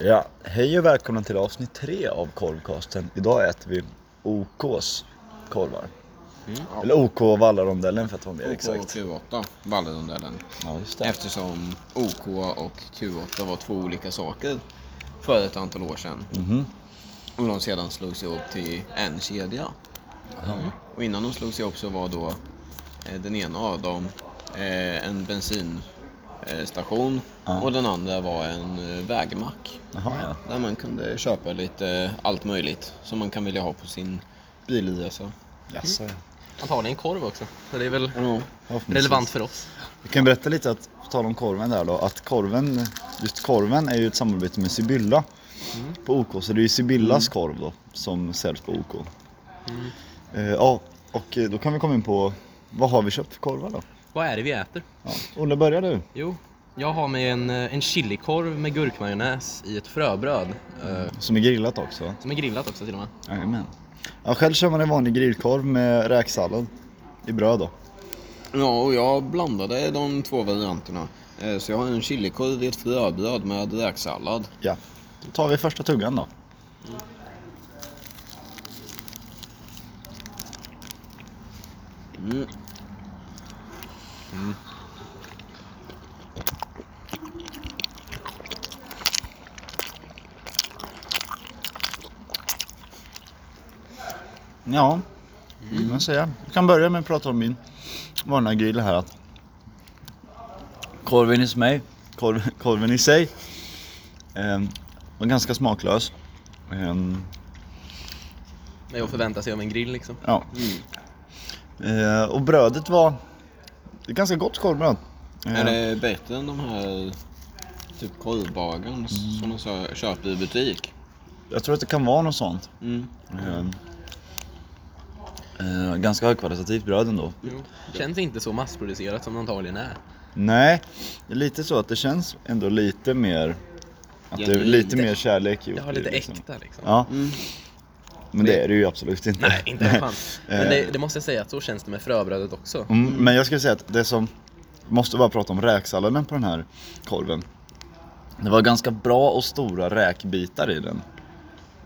Ja, hej och välkomna till avsnitt tre av Korvkasten. Idag äter vi OKs korvar. Ja. Eller OK Vallarondellen för att vara mer OK exakt. och Q8, Wallenrondellen. Ja, just det. Eftersom OK och Q8 var två olika saker för ett antal år sedan. Mhm. Och de sedan slogs ihop till en kedja. Mm. Och innan de slogs ihop så var då eh, den ena av dem eh, en bensinstation Ja. och den andra var en eh, vägmack. Jaha, ja. Där man kunde köpa lite allt möjligt som man kan vilja ha på sin alltså. bilresa. Jaså, ja. Antagligen korv också. Så det är väl Ja. Ja, precis. relevant för oss. Vi kan berätta lite, att, på tal om korven där då, att korven, just korven är ju ett samarbete med Sibylla på OK. Så det är ju Sibyllas korv då som säljs på OK. Eh, ja, och eh, då kan vi komma in på vad har vi köpt för korvar då? Vad är det vi äter? Ja. Olle, börja du. Jo, jag har med en, eh, en chilikorv med gurkmajonnäs i ett fröbröd. eh, Som är grillat också va? Som är grillat också till och med. Jajamän. Ja, själv kör man en vanlig grillkorv med räksallad i bröd då. Ja, och jag blandade de två varianterna. Eh, Så jag har en chilikorv i ett fröbröd med räksallad. Ja. Då tar vi första tuggan då. Mm. Ja, mm. jag säga. Jag kan börja med att prata om min vanliga grill här. Att korven i mig, korv, korven i sig, eh, var ganska smaklös. Ehm, Det är att förvänta sig av en grill liksom. Ja. Eh, och brödet var det är ganska gott korvbröd. Eh, Är det bättre än de här typ korvbagarna som man så- köper i butik? Jag tror att det kan vara något sånt. Mm. Ehm, eh, ganska högkvalitativt bröd ändå. Jo. Känns inte så massproducerat som det antagligen är. Nej, det är lite så att det känns ändå lite mer... Att det är Genuint. lite mer kärlek gjort Det har i lite det, liksom. äkta liksom. Ja, Mm. men det är det ju absolut inte. Nej, inte en chans. Men Eh. det, det måste jag säga att så känns det med fröbrödet också. Mm, men jag skulle säga att det som... Måste bara prata om räksalladen på den här korven. Det var ganska bra och stora räkbitar i den.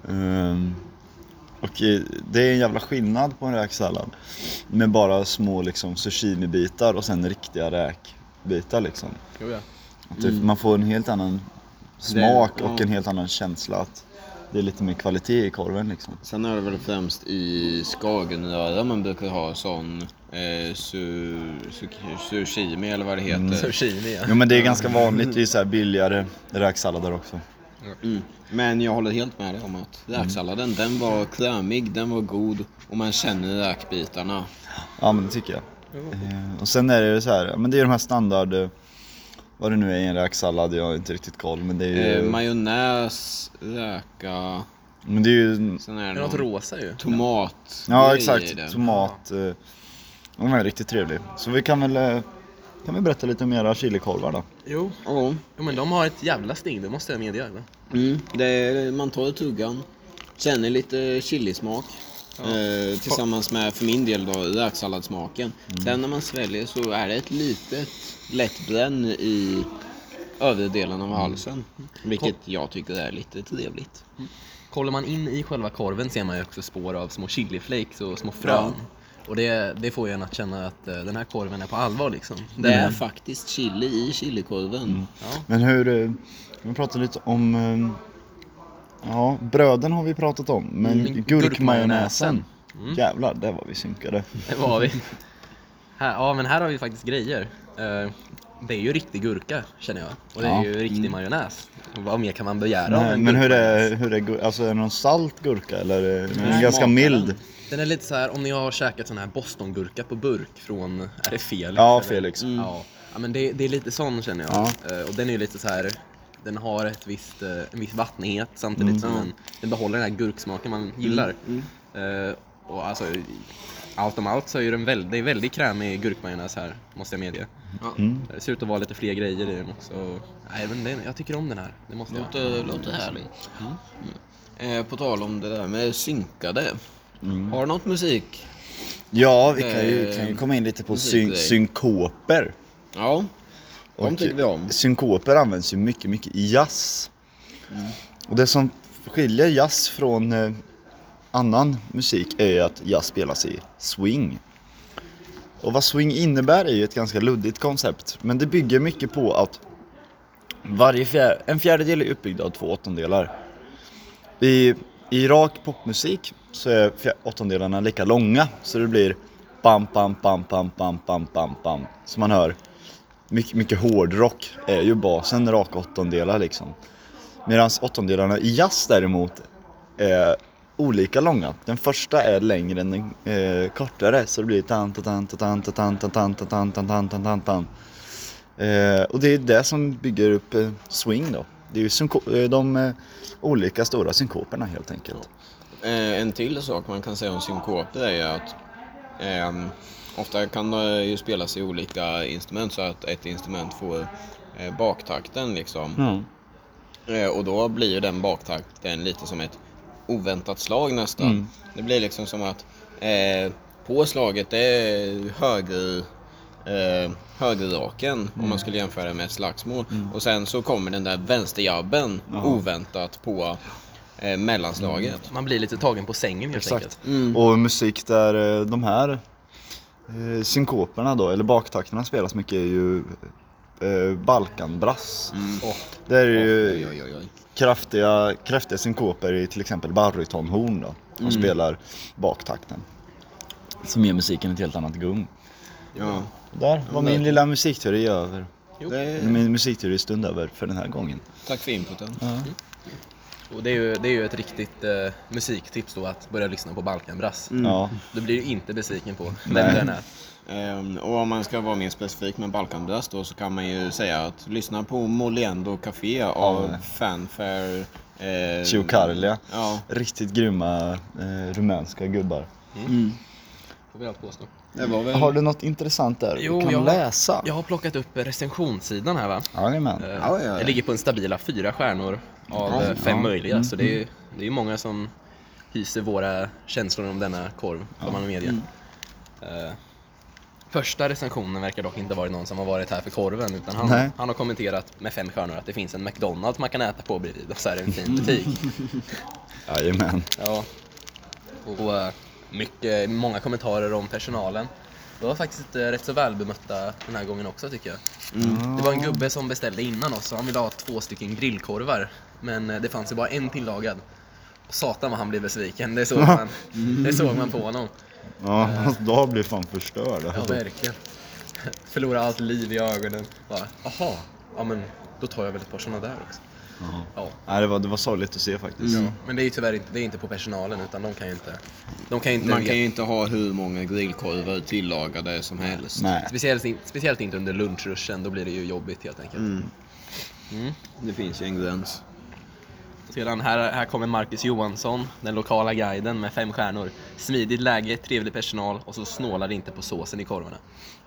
Ehm, och eh, det är en jävla skillnad på en räksallad med bara små liksom bitar och sen riktiga räkbitar liksom. Jo, ja. Att det, Man får en helt annan smak Det- och ja. en helt annan känsla att det är lite mer kvalitet i korven liksom. Sen är det väl främst i skagenröra man brukar ha sån eh, su, su, sushimi eller vad det heter. Mm, Zucchini ja. Jo men det är ganska vanligt i så här billigare räksallader också. Mm. Men jag håller helt med dig om att räksalladen, den var krämig, den var god och man känner räkbitarna. Ja men det tycker jag. Eh, Och sen är det ju så här, ja, men det är de här standard, eh, vad det nu är i en räksallad, jag har inte riktigt koll men det är Eh, ju, majonnäs, räka, men det är ju sen är Det det är något någon rosa ju. tomat. ja grej i exakt, det. tomat. eh, De är riktigt trevlig. Så vi kan väl, eh, kan vi berätta lite om era chilikorvar då? Jo. Ja. jo, men de har ett jävla sting, det måste jag medge. eller? Mm. Det är, man tar i tuggan, känner lite chilismak. Eh, tillsammans med för min del då räksalladsmaken. Mm. Sen när man sväljer så är det ett litet lätt bränn i övre delen av Mm. halsen. Vilket jag tycker är lite trevligt. Kollar man in i själva korven ser man ju också spår av små chiliflakes och små frön. Och det, det får ju en att känna att eh, den här korven är på allvar liksom. Den Mm. Det är faktiskt chili i chilikorven. Ja. Men hur, eh, vi pratar lite om, eh, ja bröden har vi pratat om, men Mm, gurkmajonnäsen. gurkmajonnäsen. Jävlar, där var vi synkade. Det var vi. Här, ja men här har vi faktiskt grejer. Eh, det är ju riktig gurka känner jag. Och det är Ja. Mm. ju riktig majonnäs. Och vad mer kan man begära av Nej, en men hur är, gurkmajonnäs? hur är, gur- alltså är det någon salt gurka eller är den Nej, ganska smakar mild? den. Den är lite så här om ni har käkat sån här bostongurka på burk från, är det Felix? Ja, eller? Felix. Mm. Ja. ja men det, det är lite sån känner jag. Ja. Eh, och den är ju lite så här den har ett visst, eh, en viss vattnighet samtidigt Mm. som den, den behåller den här gurksmaken man gillar. Mm. Eh, och alltså, allt om allt så är ju den väldigt, det är väldigt krämig gurkmajonnäs här, måste jag medge. Ja. Mm. Det ser ut att vara lite fler grejer i den också. Och, nej, men den, jag tycker om den här. Det måste jag. Låter, låter härligt. Mm. Eh, på tal om det där med synkade. Har du något musik? Ja, vi kan ju, Eh, kan ju komma in lite på precis, syn, det. synkoper. Ja, de tycker vi om. Synkoper används ju mycket, mycket i jazz. Mm. Och det som skiljer jazz från eh, annan musik är ju att jazz spelas i swing. Och vad swing innebär är ju ett ganska luddigt koncept, men det bygger mycket på att varje fjär, en fjärdedel är uppbyggd av två åttondelar. I, I rak popmusik så är fjär, åttondelarna lika långa, så det blir bam, bam, bam, bam, bam, bam, bam, bam, som man hör. Mycket, mycket hårdrock är ju basen raka åttondelar liksom. Medan åttondelarna i jazz däremot är olika långa. Den första är längre än den eh, kortare så det blir tan tan tan tan tan tan tan tan tan tan tan tan tan Eh, Och det är det som bygger upp eh, swing då. Det är ju synko- eh, de eh, olika stora synkoperna helt enkelt. Eh, en till sak man kan säga om synkoper är ju att ehm, ofta kan det ju spelas i olika instrument så att ett instrument får eh, baktakten liksom. Mm. Eh, och då blir ju den baktakten lite som ett oväntat slag nästan. Mm. Det blir liksom som att eh, på slaget det är höger, eh, högerraken om man skulle jämföra med ett slagsmål. Och sen så kommer den där vänsterjabben oväntat på eh, mellanslaget. Man blir lite tagen på sängen helt enkelt. Exakt. Mm. Och musik där eh, de här eh, synkoperna då, eller baktakterna spelas mycket är ju eh, Balkanbrass. Och Det är ju Mm. Oj, oj, oj, oj. kraftiga, kraftiga synkoper i till exempel barytonhorn då. De Mm. spelar baktakten. Som ger musiken ett helt annat gung. Ja. Där var Mm. min lilla musikteori över. Det, Min musikteoristund över för den här gången. tack för inputen. Och det är ju, det är ju ett riktigt eh, musiktips då att börja lyssna på Balkanbrass. Ja. Du blir ju inte besviken på vem den är. Ehm, och om man ska vara mer specifik med Balkanbrass då så kan man ju säga att lyssna på Moliendo Café av Fanfare... Eh, Ciucarlia. Ja. Riktigt grymma eh, rumänska gubbar. Får vi allt påstå. Det var väl... Har du något intressant där? Jo, du kan jag- läsa. Jag har plockat upp recensionssidan här va? Jajamän. Eh, Ja, ja, ja. Det ligger på en stabila fyra stjärnor av Ja, Mm, eh, fem ja. möjliga. Så det är ju det är ju många som hyser våra känslor om denna korv, får man medge. Mm. Eh, Första recensionen verkar dock inte ha varit någon som har varit här för korven utan Nej. han, han har kommenterat med fem stjärnor att det finns en McDonalds man kan äta på bredvid och så är det en fin butik. Jajamän. Ja. Och eh, mycket, många kommentarer om personalen. Det var faktiskt eh, rätt så välbemötta den här gången också tycker jag. Mm. Det var en gubbe som beställde innan oss och han ville ha två stycken grillkorvar. Men eh, det fanns ju bara en tillagad. Och satan vad han blev besviken, det såg man, det såg man på honom. Ja, hans dag blir fan förstörd. Ja, alltså. verkligen. Förlorade allt liv i ögonen. Bara, Aha, ja men då tar jag väl ett par sådana där också. Ja. Ja. Nej, det var, det var sorgligt att se faktiskt. Mm. Ja, men det är ju tyvärr inte, det är inte på personalen utan de kan ju inte... De kan ju inte Man veta. kan ju inte ha hur många grillkorvar tillagade som helst. Nej. Speciellt, in, speciellt inte under lunchruschen, då blir det ju jobbigt helt enkelt. Det finns ju en gräns. Mm. Sedan här, här kommer Marcus Johansson, den lokala guiden med fem stjärnor. Smidigt läge, trevlig personal och så snålar det inte på såsen i korvarna.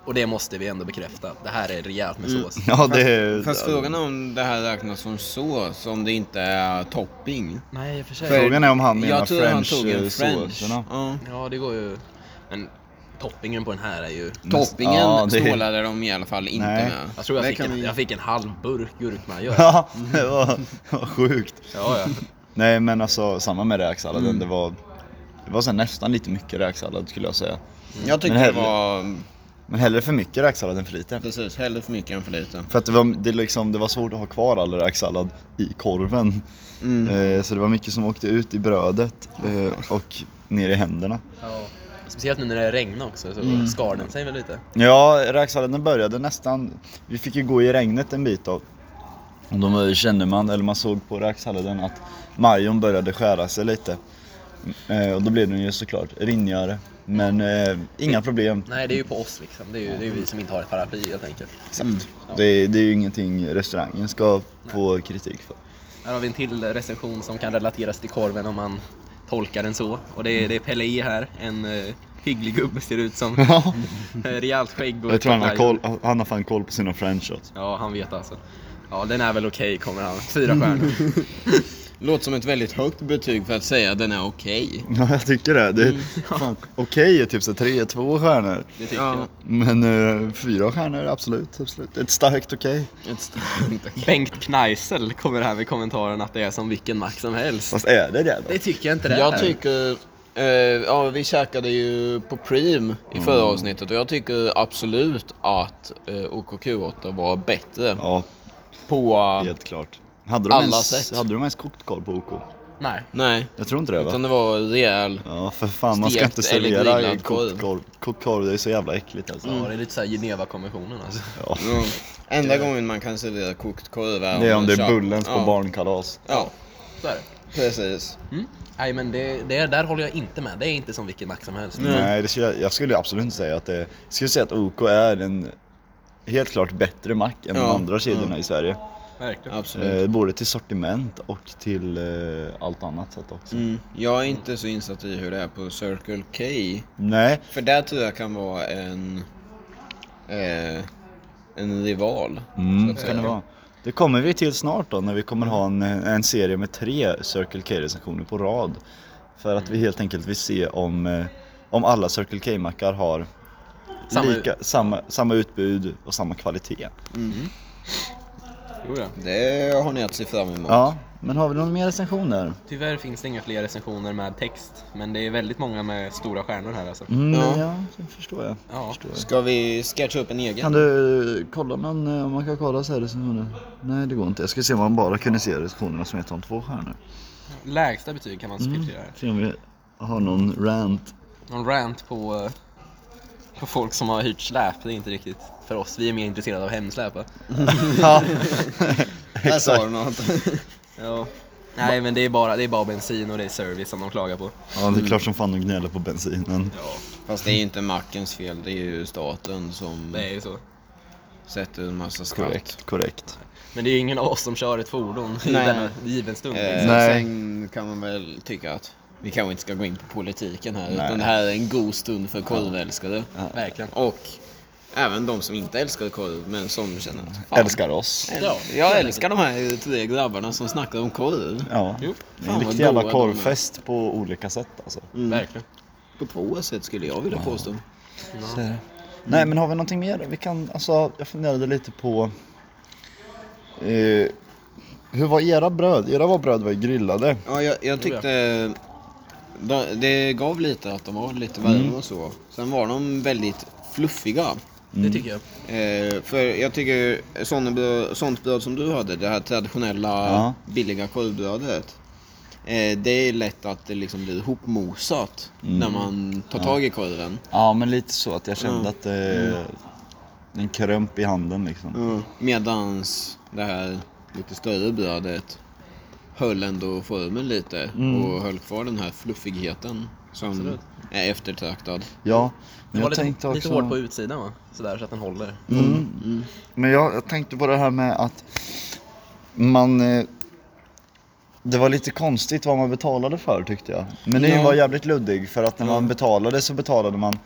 Och det måste vi ändå bekräfta, det här är rejält med sås. Ja, det är... Fast frågan är om det här räknas som sås, om det inte är topping. Nej, i och för sig. Frågan är om han menar eh, Jag tror han tog en french. french-såserna. Ja. Ja, det går ju... Men toppingen på den här är ju... Toppingen Ja, det- snålade de i alla fall inte Nej. med. Jag tror jag Det fick, kan en, vi- jag fick en halv burk gurkmajo. Ja, Ja, det var, det var sjukt. ja. Nej men alltså samma med räksalladen, Mm. det var, det var så här nästan lite mycket räksallad skulle jag säga. Jag tyckte Men det hellre- var Men hellre för mycket räksallad än för lite. precis hellre för mycket än för lite. För att det var, det liksom, det var svårt att ha kvar all räksallad i korven. Mm. Mm. Eh, så det var mycket som åkte ut i brödet eh, och ner i händerna. ja. Speciellt nu när det regnar också så skar den sig väl lite. Ja, räksalladen började nästan, vi fick ju gå i regnet en bit då. Och då kände man, eller man såg på räksalladen att majon började skära sig lite. Eh, och då blev den ju såklart rinnigare. Men eh, inga problem, Nej, det är ju på oss liksom. Det är ju, det är ju vi som inte har ett paraply helt enkelt. Exakt. Det, det är ju ingenting restaurangen ska få kritik för. Här har vi en till recension som kan relateras till korven om man tolkar den så. Och det är, det är Pelle E här, en uh, hygglig gubbe ser det ut som. Eh, Rejält skägg och... Jag tror han har, koll, han har fan koll på sina french shots. Ja, han vet alltså. Ja, den är väl okej kommer han. Fyra stjärnor. Låter som ett väldigt högt betyg för att säga att den är okej. Ja, jag tycker det. det fan, Okej är typ så tre, två stjärnor. Det tycker Ja. Men eh, fyra stjärnor, absolut. absolut. Ett starkt okej. jag. Ett starkt okej. Bengt Kneisel kommer här med kommentaren att det är som vilken mack som helst. Fast är det det då? Det tycker jag inte det är. Jag tycker... Eh, ja, vi käkade ju på Preem i förra avsnittet och jag tycker absolut att eh, OKQ8 var bättre Ja, på... helt klart. Hade de, Alla ens, sätt. hade de ens kokt korv på OK? Nej. Nej, Jag tror inte det va? utan det var rejäl... Ja, för fan man ska Stekt inte eller servera grillad kokt korv. Mm. korv. Kokt korv, det är så jävla äckligt alltså. Ja, det är lite såhär Geneva-konventionen alltså. Ja. Enda gången man kan servera kokt korv är Det är om man det är köper- bullens på ja. barnkalas. Ja, Så är det. precis. Mm. Nej men det, det, där håller jag inte med. Det är inte som vilken mack som helst. Nej, det skulle jag, jag skulle absolut inte säga att det... Jag skulle säga att OK är en helt klart bättre mack än de Ja, andra kedjorna i Sverige. Verkligen. Absolut. Eh, både till sortiment och till eh, allt annat sätt också. Mm. Jag är inte så insatt i hur det är på Circle K. Mm. Nej, För där tror jag kan vara en... Eh, en rival. så mm, att det kan det säga. vara. Det kommer vi till snart då när vi kommer ha en, en serie med tre Circle K-recensioner på rad. För att vi helt enkelt vill se om, eh, om alla Circle K-mackar har Samma- lika, samma, samma utbud och samma kvalitet. Jo, ja. Det har ni att se fram emot. Ja, men har vi någon mer recensioner? Tyvärr finns det inga fler recensioner med text. Men det är väldigt många med stora stjärnor här alltså. Mm, ja. Ja. det förstår jag. Ja. Förstår jag. Ska vi sketcha upp en Kan egen? du kolla någon, eh, om man kan kolla så här recensioner? Nej det går inte. Jag ska se om man bara kunde se recensionerna som heter om två stjärnor. Lägsta betyg kan man Mm. filtrera. här. Se om vi har någon rant. Någon rant på, eh, på folk som har hyrt släp. Det är inte riktigt för oss. Vi är mer intresserade av hemsläp. va? ja, Där sa exakt. du något. Ja. Nej men det är, bara, det är bara bensin och det är service som de klagar på. Ja, det är klart som fan de gnäller på bensinen. Fast det är ju inte mackens fel, det är ju staten som Det är ju så. sätter en massa skatt. Korrekt, korrekt. Men det är ju ingen av oss som kör ett fordon i Nej. denna given stund. Eh, liksom. Nej. Sen kan man väl tycka att vi kanske inte ska gå in på politiken här, Nej. utan det här är en god stund för korvälskare. Verkligen. Och även de som inte älskar korv, men som känner att fan, Älskar oss. Ja, jag älskar de här tre grabbarna som snackar om korv. Ja, Jo, det är fan en vad riktig jävla goa de är. korvfest på olika sätt alltså. Verkligen. Mm. På två sätt skulle jag vilja påstå. Så är det. Nej men har vi någonting mer? då? Vi kan, alltså, jag funderade lite på eh, Hur var era bröd? Era var bröd var ju grillade. Ja, jag, jag tyckte... de- Det gav lite att de var lite varma och så. Sen var de väldigt fluffiga. Det tycker jag. Eh, för jag tycker sån bröd, sånt bröd som du hade, det här traditionella Ja. billiga korvbrödet. Eh, det är lätt att det liksom blir hopmosat när man tar tag i korven. Ja men lite så att jag kände att det en krömp i handen liksom. Mm. Medans det här lite större brödet höll ändå formen lite Mm. och höll kvar den här fluffigheten som är eftertraktad. Ja, Det men var jag lite, tänkte lite hårt på också utsidan va? Sådär så att den håller. Mm. Mm. Men jag, jag tänkte på det här med att man eh, det var lite konstigt vad man betalade för tyckte jag. Menyn Ja. var jävligt luddig för att när man betalade så betalade man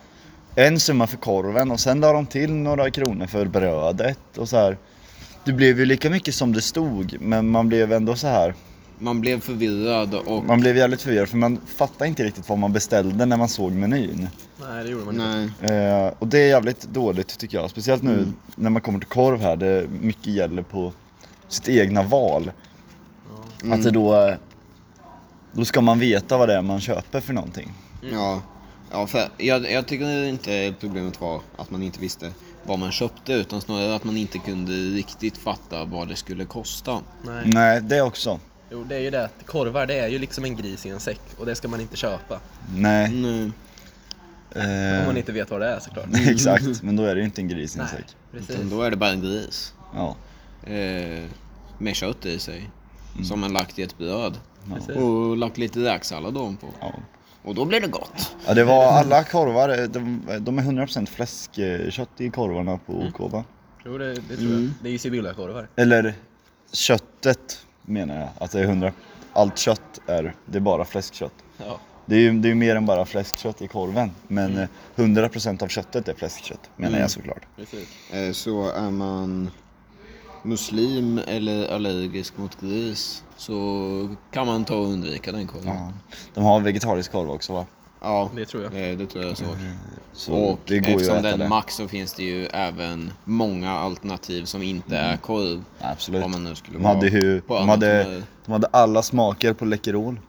en summa för korven och sen la de till några kronor för brödet och så här. Det blev ju lika mycket som det stod men man blev ändå så här. Man blev förvirrad och... Man blev jävligt förvirrad för man fattade inte riktigt vad man beställde när man såg menyn. Nej, det gjorde man inte. Nej. Eh, och det är jävligt dåligt tycker jag. Speciellt nu Mm. när man kommer till korv här. Det mycket gäller på sitt egna val. Att Mm. det då... eh, Då ska man veta vad det är man köper för någonting. Ja. ja för jag, jag tycker inte problemet var att man inte visste vad man köpte utan snarare att man inte kunde riktigt fatta vad det skulle kosta. Nej. Nej, det också. Jo, det är ju det att korvar det är ju liksom en gris i en säck och det ska man inte köpa. Nej. Mm. Eh, Mm. Om man inte vet vad det är såklart. exakt, men då är det ju inte en gris i en Mm. Nej, säck. precis. Utan då är det bara en gris. Ja. Eh, med kött i sig. Som man lagt i ett bröd. Precis. Och lagt lite räksallad ovanpå. Ja. Och då blir det gott. ja, det Mm. var alla korvar. eh, De, de är 100% fläskkött i korvarna på Mm. OK va? Jo, det, det tror Mm. jag. Det är ju Sibylla-korvar. Eller köttet menar jag. Att det är 100... Allt kött är... Det är bara fläskkött. Ja. Det är ju det är ju mer än bara fläskkött i korven. Men Mm. eh, 100% av köttet är fläskkött menar jag såklart. Precis. Eh, så är Eh, man muslim eller allergisk mot gris så kan man ta och undvika den korven. Ja, Ja. De har vegetarisk korv också va? Det tror jag. Eh, det, det tror jag är svårt. Mm. Så Och det går ju att eftersom äta den det. är max så finns det ju även många alternativ som inte är korv. Absolut. Om man nu skulle De hade vara ju, på de annat hade, humör. de hade alla smaker på Läkerol.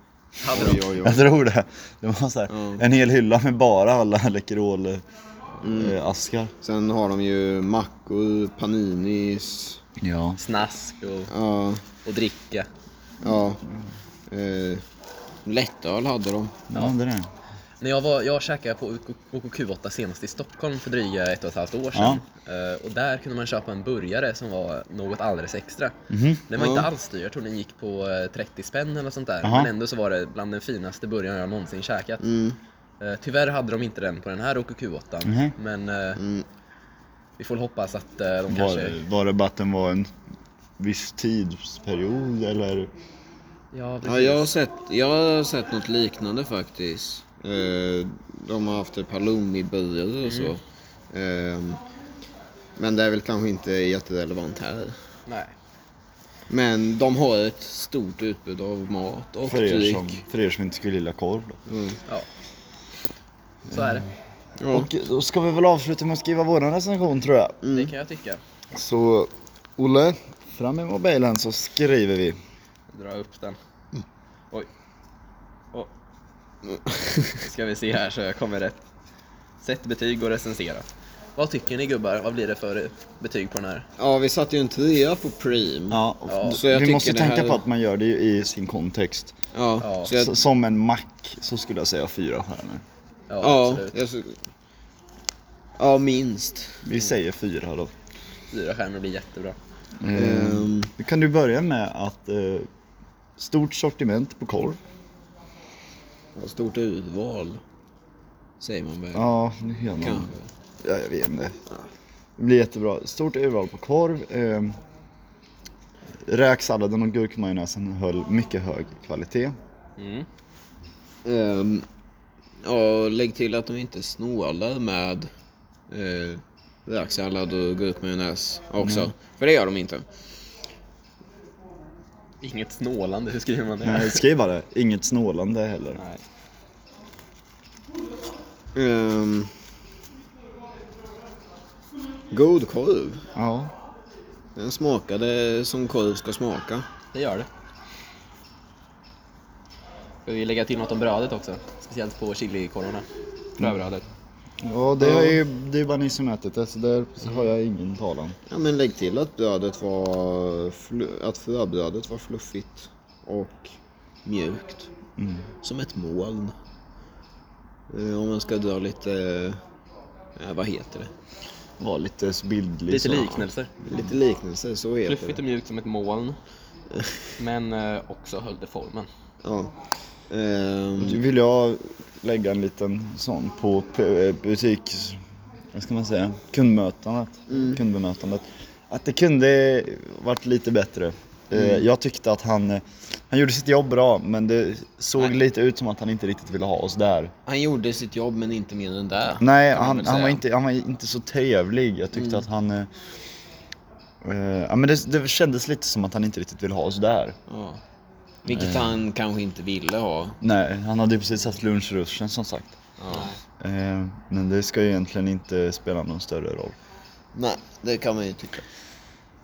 Hade Oj, de? oj, oj. Jag tror det. Det var så här, Ja. en hel hylla med bara alla Läkerol Mm. eh, askar. Sen har de ju mackor, paninis, Ja. Snask och, ja, och dricka. ja. Eh, lättöl hade de. Ja, det är det. När jag, var, jag käkade på OKQ8 senast i Stockholm för dryga ett och ett halvt år sedan. Eh, och där kunde man köpa en burgare som var något alldeles extra. Mhm. Den var inte Ja. alls dyr, jag tror den gick på eh, 30 spänn eller sånt där. Jaha. Men ändå så var det bland den finaste burgaren jag någonsin käkat. Mm, Eh, tyvärr hade de inte den på den här OKQ8. Mhm. Men eh, mm. vi får väl hoppas att eh, de Var, kanske... var det bara att den var en viss tidsperiod eller? Ja, Ja, precis. jag, har sett, jag har sett något liknande faktiskt. Eh, de har haft palomiburgare och så. Ehm, men det är väl kanske inte jätterelevant här. Nej. Men de har ett stort utbud av mat och För er, som, dryck. för er som inte skulle gilla korv då. Mm. Ja. Så är det. Ja. Och då ska vi väl avsluta med att skriva vår recension tror jag. Mm. Det kan jag tycka. Så Olle, fram med mobilen så skriver vi. Dra upp den. Mm. Oj. Oj. Ska vi se här så jag kommer rätt. Sätt betyg och recensera. Vad tycker ni gubbar? Vad blir det för betyg på den här? ja, vi satte ju en trea på Preem. Ja, Ja, så jag vi tycker måste det tänka här- på att man gör det ju i sin kontext. Ja, Ja. Så jag, S- Som en mack så skulle jag säga fyra stjärnor. Ja, ja, absolut. jag, så- ja, minst. Vi säger fyra då. Fyra stjärnor blir jättebra. Mm. Ehm, Nu kan du börja med att eh, stort sortiment på korv. stort urval, säger man väl. Ja, nu gör man. Kanske. Ja, jag vet inte. Det blir jättebra. Stort urval på korv. Eh, räksalladen och gurkmajonnäsen höll mycket hög kvalitet. Mm. Ehm, ja, lägg till att de inte snålar med uh, räksallad och gurkmajonnäs också. För det gör de inte. Inget snålande, hur skriver man det? Nej, skriv bara det. Eh, Inget snålande heller. Nej. Ehm, god korv. Ja. Den smakade som korv ska smaka. Det gör det. Ska vi lägga till något om brödet också? Speciellt på chilikorvarna. Rödbrödet. Ja, det är ju det är bara ni som ätit det, så där har jag ingen talan. Ja, men lägg till att brödet var... flu- Att fröbrödet var fluffigt och mjukt. Mm. Som ett moln. Eh, Om man ska dra lite... eh, Vad heter det? Var lite så bildlig. Lite så. liknelser. Mm. Lite liknelse, så heter Fluffigt det. och mjukt som ett moln. Men eh, också höll det formen. Ja. Ehm, Nu vill jag lägga en liten sån på p- butik... Vad ska man säga? Kundmötandet. Kundbemötandet. Att det kunde varit lite bättre. Eh, Jag tyckte att han, eh, han gjorde sitt jobb bra, men det såg lite ut som att han inte riktigt ville ha oss där. han gjorde sitt jobb men inte mer än det. Nej, kan man han, väl han, var säga. Mm. inte, han var inte så trevlig. Jag tyckte att han... eh, eh, ja, men det, det kändes lite som att han inte riktigt ville ha oss där. Ja. Vilket han kanske inte ville ha. Nej, han hade ju precis haft lunchruschen som sagt. Ja. Eh, men det ska ju egentligen inte spela någon större roll. Nej, det kan man ju tycka.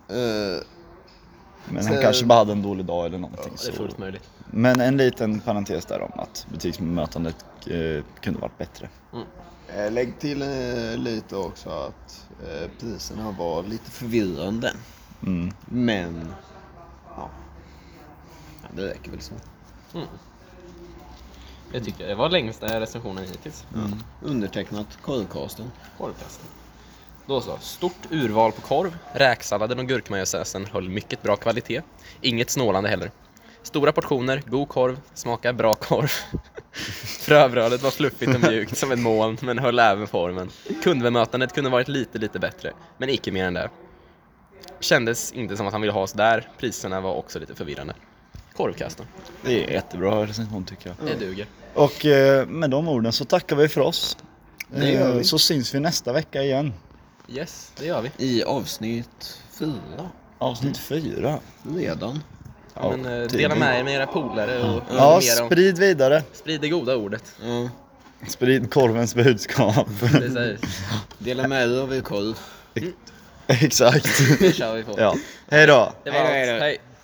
Eh, Men Så- han kanske bara hade en dålig dag eller någonting. Det är Så. fullt möjligt. Men en liten parentes där om att butiksbemötandet eh, kunde varit bättre. Eh, Lägg till eh, lite också att eh, priserna var lite förvirrande. Mm. Men, ja. ja det räcker väl så. Mm. Jag tycker det var längsta recensionen hittills. Undertecknat korvkasten. Korvkasten. Då så. Stort urval på korv. Räksalladen och gurkmajonnäsen höll mycket bra kvalitet. Inget snålande heller. Stora portioner, god korv, smakar bra korv. Fröbrödet var fluffigt och mjukt som ett moln, men höll även formen. Kundbemötandet kunde varit lite, lite bättre, men icke mer än det. Kändes inte som att han ville ha oss där. Priserna var också lite förvirrande. Korvkasten. Det är jättebra recension tycker jag. Det duger. Och eh, med de orden så tackar vi för oss. Det gör Eh, vi. Så syns vi nästa vecka igen. Yes, det gör vi. I avsnitt fyra. Avsnitt fyra. Redan. Ja, Mm. Men, eh, tydligt. dela med er med era polare och Ja, mer om, sprid vidare. sprid det goda ordet. Ja. Sprid korvens budskap. Precis. Dela med er av er korv. Exakt. Det kör vi på. Ja. Hej då. Det Hej då, var allt. hej då. Hej.